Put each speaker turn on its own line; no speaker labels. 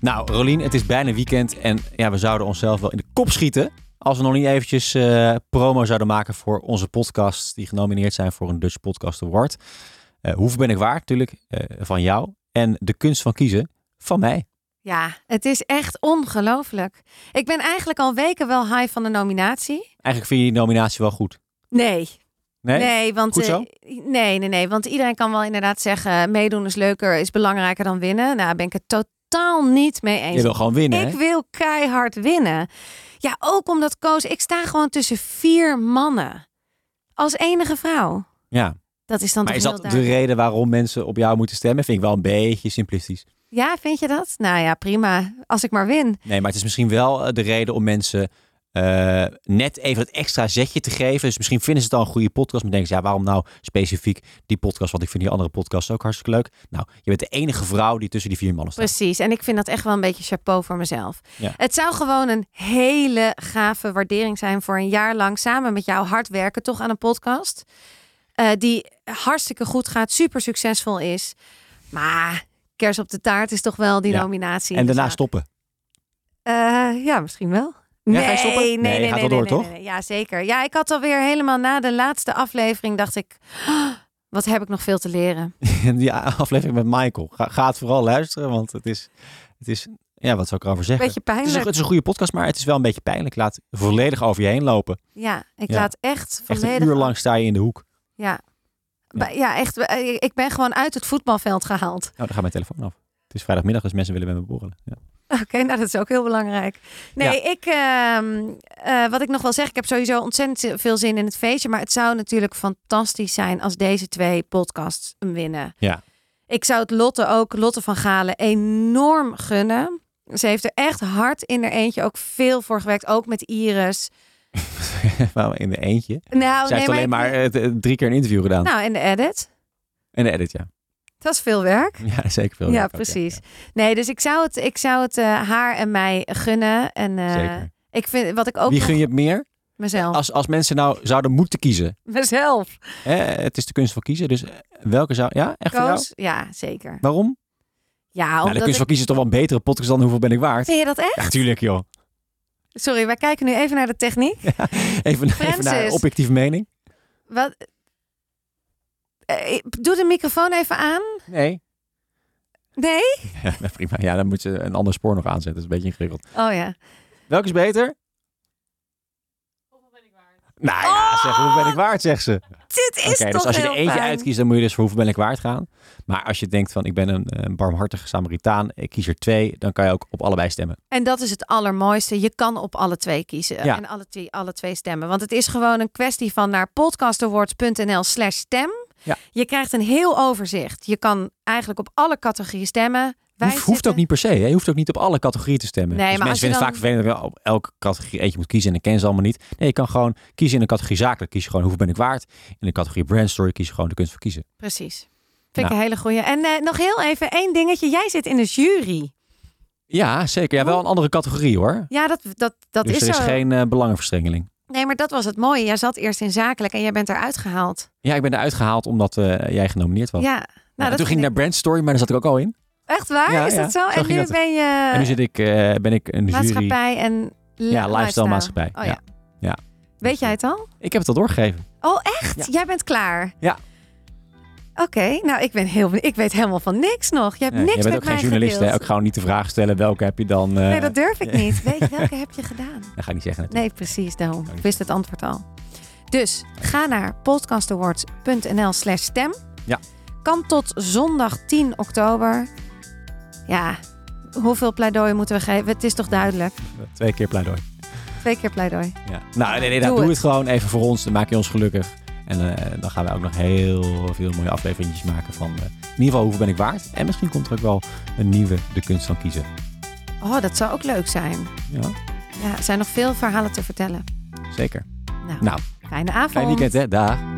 Nou, Rolien, het is bijna weekend en ja, we zouden onszelf wel in de kop schieten als we nog niet eventjes eh, promo zouden maken voor onze podcasts die genomineerd zijn voor een Dutch Podcast Award. Eh hoeveel ben ik waard? Natuurlijk eh, van jou. En de kunst van kiezen van mij.
Ja, het is echt ongelooflijk. Ik ben eigenlijk al weken wel high van de nominatie.
Eigenlijk vind je die nominatie wel goed.
Nee,
Nee?
Nee, want,
Goed
eh,
zo?
nee, nee, nee. Want iedereen kan wel inderdaad zeggen: meedoen is leuker, is belangrijker dan winnen. Nou, ben ik het totaal niet mee eens.
Je wil gewoon winnen,
ik
hè?
wil keihard winnen. Ja, ook omdat Koos, ik sta gewoon tussen vier mannen. Als enige vrouw.
Ja.
Dat is dan
Maar is
toch
dat
heel
de
duidelijk.
reden waarom mensen op jou moeten stemmen? Vind ik wel een beetje simplistisch.
Ja, vind je dat? Nou ja, prima. Als ik maar win.
Nee, maar het is misschien wel eh, de reden om mensen eh, net even het extra zetje te geven. Dus misschien vinden ze het al een goede podcast. Maar denken ze, ja, waarom nou specifiek die podcast? Want ik vind die andere podcast ook hartstikke leuk. Nou, je bent de enige vrouw die tussen die vier mannen staat.
Precies. En ik vind dat echt wel een beetje chapeau voor mezelf.
Ja.
Het zou gewoon een hele gave waardering zijn voor een jaar lang samen met jou hard werken, toch aan een podcast. eh, die hartstikke goed gaat, super succesvol is. Maar kers op de taart is toch wel die
Ja.
nominatie.
En daarna
Dus,
stoppen.
eh, ja, misschien wel.
Ja,
Nee,
ga je stoppen?
nee,
Nee, je
nee, nee,
gaat wel
nee,
door,
nee,
toch?
nee, nee. Ja, zeker. Ja, ik had alweer helemaal na de laatste aflevering dacht ik, "Ah, wat heb ik nog veel te leren.
En die aflevering met Michael. Ga, ga het vooral luisteren, want het is, het is ja, wat zou ik erover zeggen?
Beetje
Het is, een,
pijnlijk.
het is een goede podcast, maar het is wel een beetje pijnlijk. Laat volledig over je heen lopen.
Ja, ik
Ja.
laat echt
Echt
volledig
een uur lang sta je in de hoek.
Ja.
Ja.
Ba- Ja, echt. eh, Ik ben gewoon uit het voetbalveld gehaald.
Nou, dan gaat mijn telefoon af. Het is vrijdagmiddag, dus mensen willen met me borrelen. Ja.
Oké, nou dat is ook heel belangrijk. Nee, ik, ehm, eh, wat ik nog wel zeg, ik heb sowieso ontzettend zi- veel zin in het feestje. Maar het zou natuurlijk fantastisch zijn als deze twee podcasts hem winnen.
Ja.
Ik zou het Lotte ook, Lotte van Galen, enorm gunnen. Ze heeft er echt hard in haar eentje ook veel voor gewerkt. Ook met Iris.
Maar in de eentje. Zij
Nou, nee,
heeft alleen maar eh, d- eh, drie keer een interview gedaan.
Nou, en de edit.
En de edit, ja.
Dat is veel werk.
Ja, zeker veel.
Ja,
werk ook,
precies. Nee, dus ik zou het, ik zou het eh, haar en mij gunnen. En eh,
Zeker.
ik vind wat ik ook
Wie
nog-
gun je het meer?
mezelf.
Als, als mensen nou zouden moeten kiezen.
Mezelf.
Hè, het is de kunst van kiezen. Dus eh, welke zou... Ja, echt voor jou?
Koos? Ja, zeker.
Waarom?
Ja,
nou, de
omdat
kunst van kiezen is toch wel een betere podcast dan Hoeveel ben ik
ik...
waard?
Vind je dat echt?
Ja, tuurlijk joh.
Sorry, wij kijken nu even naar de techniek.
Even, even naar
Francis.
objectieve mening.
Wat... Eh, doe de microfoon even aan.
Nee.
Nee?
Ja, prima. Ja, dan moet je een ander spoor nog aanzetten. Dat is een beetje ingewikkeld.
Oh ja.
Welke is beter? Nou ja, zeg, hoeveel ben ik waard, zegt ze.
Dit is
Oké,
toch
dus als je er
heel
eentje
fijn.
uitkiest, dan moet je dus voor hoeveel ben ik waard gaan. Maar als je denkt van, ik ben een, een barmhartige Samaritaan, ik kies er twee, dan kan je ook op allebei stemmen.
En dat is het allermooiste. Je kan op alle twee kiezen
Ja.
en alle twee, alle twee stemmen. Want het is gewoon een kwestie van naar podcastawards.nl slash stem.
Ja.
Je krijgt een heel overzicht. Je kan eigenlijk op alle categorieën stemmen. Wij
Hoeft, hoeft ook
zitten-
niet per se, hè? je hoeft ook niet op alle categorieën te stemmen.
Nee,
Dus
maar
mensen
als je
vinden
dan-
het vaak vervelend dat je op elke categorie eentje moet kiezen en dan kennen ze allemaal niet. Nee, je kan gewoon kiezen in een categorie zakelijk, kies je gewoon hoeveel ben ik waard. In de categorie brandstory kies je gewoon de kunst voor kiezen.
Precies. Vind ik
Nou.
een hele goeie. En eh, nog heel even één dingetje. Jij zit in de jury.
Ja, zeker. Ja, wel een andere categorie hoor.
Ja, dat, dat, dat
dus
is,
er is
zo.
geen eh, belangenverstrengeling.
Nee, maar dat was het mooie. Jij zat eerst in zakelijk en jij bent eruit gehaald.
Ja, ik ben eruit gehaald omdat eh, jij genomineerd was.
Ja.
Nou, toen
Nou, dat
ging
vind
ik naar brandstory, maar daar zat ik ook al in.
ik- Echt waar?
Ja,
is
ja,
dat zo?
zo
en
ging
nu
dat.
ben je
en nu zit ik, eh, ben ik een jury.
maatschappij en
Ja, lifestyle maatschappij.
Oh,
ja.
ja. Weet jij het al?
Ik heb het al doorgegeven.
Oh, echt?
Ja.
Jij bent klaar?
Ja.
Oké, nou ik ben heel benieuwd. Ik weet helemaal van niks nog. Je hebt
Nee,
niks
jij bent
met
ook geen
mij
journalist. Hè?
gedeeld.
Ook gewoon niet de vraag stellen welke heb je dan. eh,
Nee, dat durf ik
eh.
niet. Weet je, welke heb je gedaan?
dat ga ik niet zeggen. natuurlijk.
Nee, precies, daarom.
niet.
Ik wist het antwoord al. Dus ga naar podcastawards.nl slash stem.
Ja.
Kan tot zondag 10 oktober. Ja, hoeveel pleidooi moeten we geven? Het is toch duidelijk?
Twee keer pleidooi.
Twee keer pleidooi.
Ja. Nou, nee, nee, nou,
Doe
doe het.
het.
gewoon even voor ons. Dan maak je ons gelukkig. En eh, dan gaan we ook nog heel veel mooie afleveringetjes maken van. eh, in ieder geval, hoeveel ben ik waard? En misschien komt er ook wel een nieuwe De Kunst van Kiezen.
Oh, dat zou ook leuk zijn.
Ja,
Ja, er zijn nog veel verhalen te vertellen.
zeker.
Nou,
Nou,
fijne avond.
fijn weekend, hè? Dag.